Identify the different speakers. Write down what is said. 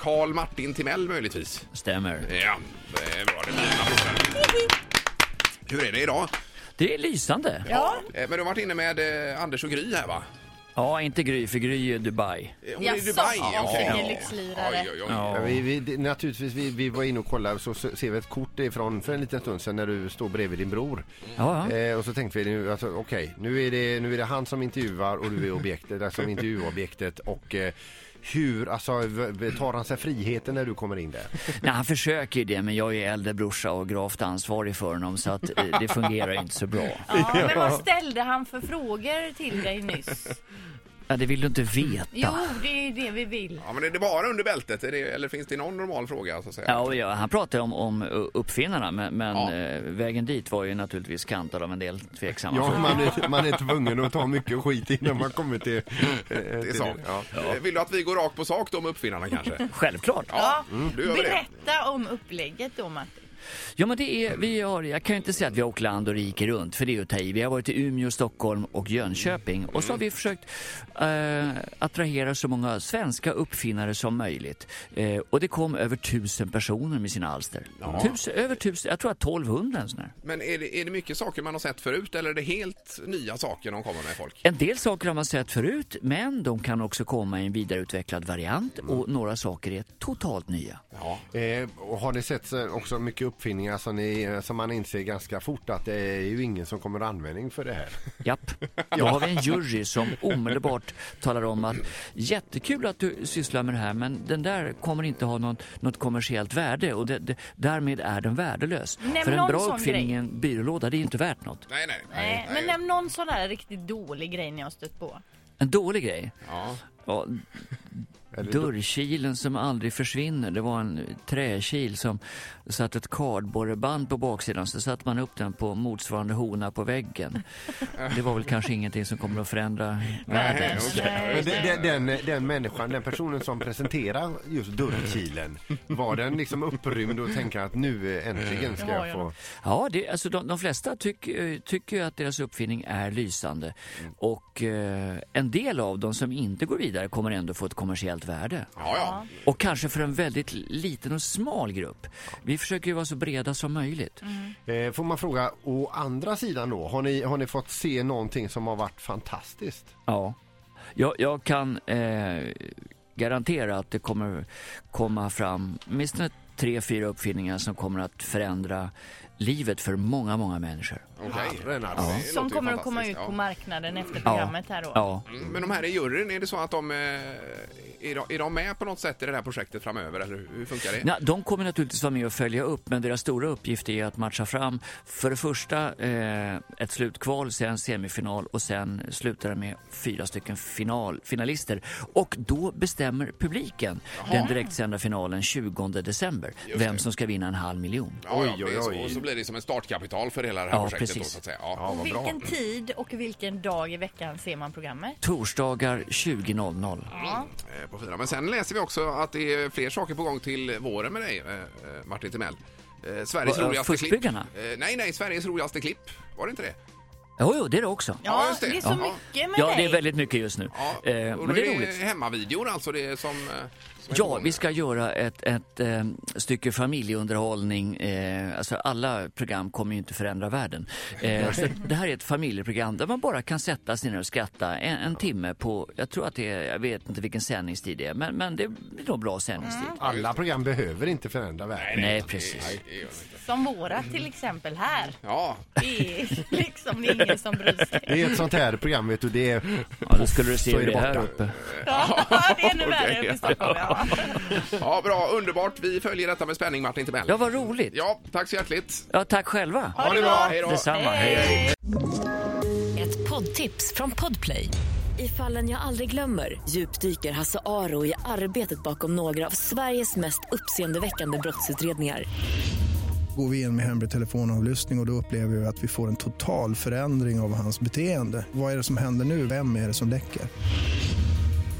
Speaker 1: Karl Martin Timell möjligtvis?
Speaker 2: Stämmer.
Speaker 1: Ja, det är bra. Det blir en applåd. Hur är det idag?
Speaker 2: Det är lysande.
Speaker 3: Ja,
Speaker 1: Eh, Men du har varit inne med eh, Anders och Gry här va?
Speaker 2: Ja, inte Gry, för Gry är Dubai.
Speaker 1: Eh, Hon är i
Speaker 3: Jaså?
Speaker 1: Dubai.
Speaker 3: Ja,
Speaker 1: okej.
Speaker 3: hon är lyxlirare.
Speaker 1: Oj, oj, oj.
Speaker 2: Ja.
Speaker 4: Ja, vi, vi, det- naturligtvis, vi, vi var inne och kollade så så ser vi ett kort ifrån för en liten stund sedan när du står bredvid din bror.
Speaker 2: Ja, ja.
Speaker 4: Eh, och så tänkte vi nu, alltså, okej, nu, är det, nu är det han som intervjuar och du är objektet, alltså intervjuobjektet och eh, hur, alltså v- tar han sig friheten när du kommer in där?
Speaker 2: Nej, han försöker ju det, men jag är äldre brorsa och gravt ansvarig för honom, så att eh, det fungerar inte så bra.
Speaker 3: ja, men vad ställde han för frågor till dig nyss?
Speaker 2: Ja, det vill du inte veta.
Speaker 3: Jo, det är ju det vi vill.
Speaker 1: Ja, men är det bara under bältet är det, eller finns det någon normal fråga? Så att säga?
Speaker 2: Ja, och ja, han pratade om, om eh, uppfinnarna, men, men
Speaker 1: Ja.
Speaker 2: eh, vägen dit var ju naturligtvis kantad av en del tveksamma
Speaker 4: Ja,
Speaker 1: alltså.
Speaker 2: frågor.
Speaker 4: man är, man är tvungen att ta mycket skit innan man kommer till... eh,
Speaker 1: Det är
Speaker 4: till-
Speaker 1: så.
Speaker 4: Ja.
Speaker 1: Eh, Vill du att vi går rakt på sak då om uppfinnarna kanske?
Speaker 2: Självklart.
Speaker 3: Ja,
Speaker 1: du Mm, gör väl det.
Speaker 3: berätta om upplägget då Martin.
Speaker 2: Ja, men det är, vi har, jag kan ju inte säga att vi har åkt land och rike runt, för det är ju att ta i. Vi har varit i Umeå, Stockholm och Jönköping. Och så har vi försökt eh, attrahera så många svenska uppfinnare som möjligt. Eh, och det kom över tusen personer med sina alster. Tus, över tusen, jag tror att 1200 en sån här.
Speaker 1: Men är det, är det mycket saker man har sett förut eller är det helt nya saker de kommer med folk?
Speaker 2: En del saker har man sett förut, men de kan också komma i en vidareutvecklad variant. Och några saker är totalt nya.
Speaker 1: Ja.
Speaker 4: Eh, och har ni sett så- också mycket uppfinningar som, ni, som man inser ganska fort att det är ju ingen som kommer att användning för det här?
Speaker 2: Japp. Då har vi en jury som omedelbart talar om att jättekul att du sysslar med det här men den där kommer inte ha någon, något kommersiellt värde och det, det, därmed är den värdelös.
Speaker 3: Nämn
Speaker 2: För en
Speaker 3: någon
Speaker 2: bra
Speaker 3: sån
Speaker 2: uppfinning i en byrålåda, det är inte värt något.
Speaker 1: Nej, nej.
Speaker 3: Nej, men nämn någon sån där riktigt dålig grej ni har stött på.
Speaker 2: En dålig grej.
Speaker 1: Ja.
Speaker 2: Ja,
Speaker 4: Eller-
Speaker 2: dörrkilen som aldrig försvinner. Det var en träkil som satt ett kardborreband på baksidan så satte man upp den på motsvarande hona på väggen. Det var väl kanske ingenting som kommer att förändra världen.
Speaker 3: eh,
Speaker 1: okej.
Speaker 4: Men den, den, den, den människan, den personen som presenterar just dörrkilen, var den liksom upprymd och tänker att nu eh, äntligen ska jag få...
Speaker 2: Ja, det, alltså de, de flesta tyck, eh, tycker ju att deras uppfinning är lysande. Och eh, en del av dem som inte går vidare kommer ändå få ett kommersiellt värde.
Speaker 1: Ja, ja.
Speaker 2: Och kanske för en väldigt liten och smal grupp. Vi försöker ju vara så breda som möjligt.
Speaker 4: Eh, får man fråga, å andra sidan då, har ni, har ni fått se någonting som har varit fantastiskt?
Speaker 2: Ja. Jag, jag kan eh, garantera att det kommer komma fram åtminstone tre, fyra uppfinningar som kommer att förändra livet för många, många människor.
Speaker 1: Okej.
Speaker 4: Herren alltså.
Speaker 1: Det låter ju
Speaker 3: Som kommer att
Speaker 1: fantastiskt,
Speaker 3: komma ut
Speaker 1: ja.
Speaker 3: på marknaden efter programmet här då.
Speaker 2: Ja.
Speaker 1: Mm, Men de här i juryn, är det så att de eh, är, de, är de med på något sätt i det här projektet framöver eller hur- hur funkar det?
Speaker 2: Nej, de kommer naturligtvis vara med och följa upp, men deras stora uppgift är att matcha fram för det första eh, ett slutkval, sen semifinal och sen slutar det med fyra stycken final, finalister. Och då bestämmer publiken den direktsända finalen 20 december vem som ska vinna en halv miljon.
Speaker 1: Ja, ja,
Speaker 4: Oj, oj,
Speaker 1: det är så.
Speaker 4: oj.
Speaker 1: Och så blir det som ett startkapital för hela det här
Speaker 2: Ja,
Speaker 1: projektet
Speaker 2: precis.
Speaker 1: då, så att säga. Ja.
Speaker 3: Och vilken tid och vilken dag i veckan ser man programmet?
Speaker 2: Torsdagar 20.00.
Speaker 1: Eh, På fyra. Men sen läser vi också att det är fler saker på gång till våren med dig, eh, eh, Martin Timell. Eh, Sveriges
Speaker 2: Va- eh,
Speaker 1: roligaste klipp.
Speaker 2: Fuskbyggarna?
Speaker 1: Eh, Nej, nej, Sveriges roligaste klipp. Var det inte det?
Speaker 2: Jo, jo, det är det också.
Speaker 1: Ja, just det.
Speaker 3: är så
Speaker 1: Ja.
Speaker 3: mycket med
Speaker 2: Ja, det
Speaker 3: dig.
Speaker 2: är väldigt mycket just nu.
Speaker 1: Ja,
Speaker 2: Eh,
Speaker 1: och
Speaker 2: men det är
Speaker 1: det
Speaker 2: roligt.
Speaker 1: hemmavideon alltså, det är som... eh, som är på
Speaker 2: Ja,
Speaker 1: gång.
Speaker 2: vi ska göra ett, ett eh, stycke familjeunderhållning. Eh, alltså alla program kommer ju inte förändra världen. Eh, så det här är ett familjeprogram där man bara kan sätta sig ner och skratta en, en timme på, jag tror att det är, jag vet inte vilken sändningstid det är, men, men det blir nog bra sändningstid.
Speaker 4: Alla program behöver inte förändra världen.
Speaker 2: Nej, precis.
Speaker 1: Det gör det inte.
Speaker 3: Som våra till exempel här.
Speaker 1: Ja,
Speaker 3: Det är liksom ingen som bryr sig.
Speaker 4: Det är ett sånt här program vet du, det är...
Speaker 2: Ja, då skulle du se
Speaker 4: Så är
Speaker 2: hur
Speaker 4: det
Speaker 2: det är här
Speaker 4: borta.
Speaker 2: uppe.
Speaker 3: Ja, det är ännu värre uppe i Stockholm. Ja.
Speaker 1: ja, bra, underbart. Vi följer detta med spänning, Martin Timell.
Speaker 2: Ja, vad roligt.
Speaker 1: Ja, tack så hjärtligt.
Speaker 2: Ja, tack själva.
Speaker 1: Ha det bra. Hej då.
Speaker 2: Detsamma. Hej, hej.
Speaker 5: Ett poddtips från Podplay. I fallen jag aldrig glömmer djupdyker Hasse Aro i arbetet bakom några av Sveriges mest uppseendeväckande brottsutredningar.
Speaker 6: Går vi in med hemlig telefonavlyssning och, och då upplever vi att vi får en total förändring av hans beteende. Vad är det som händer nu? Vem är det som läcker?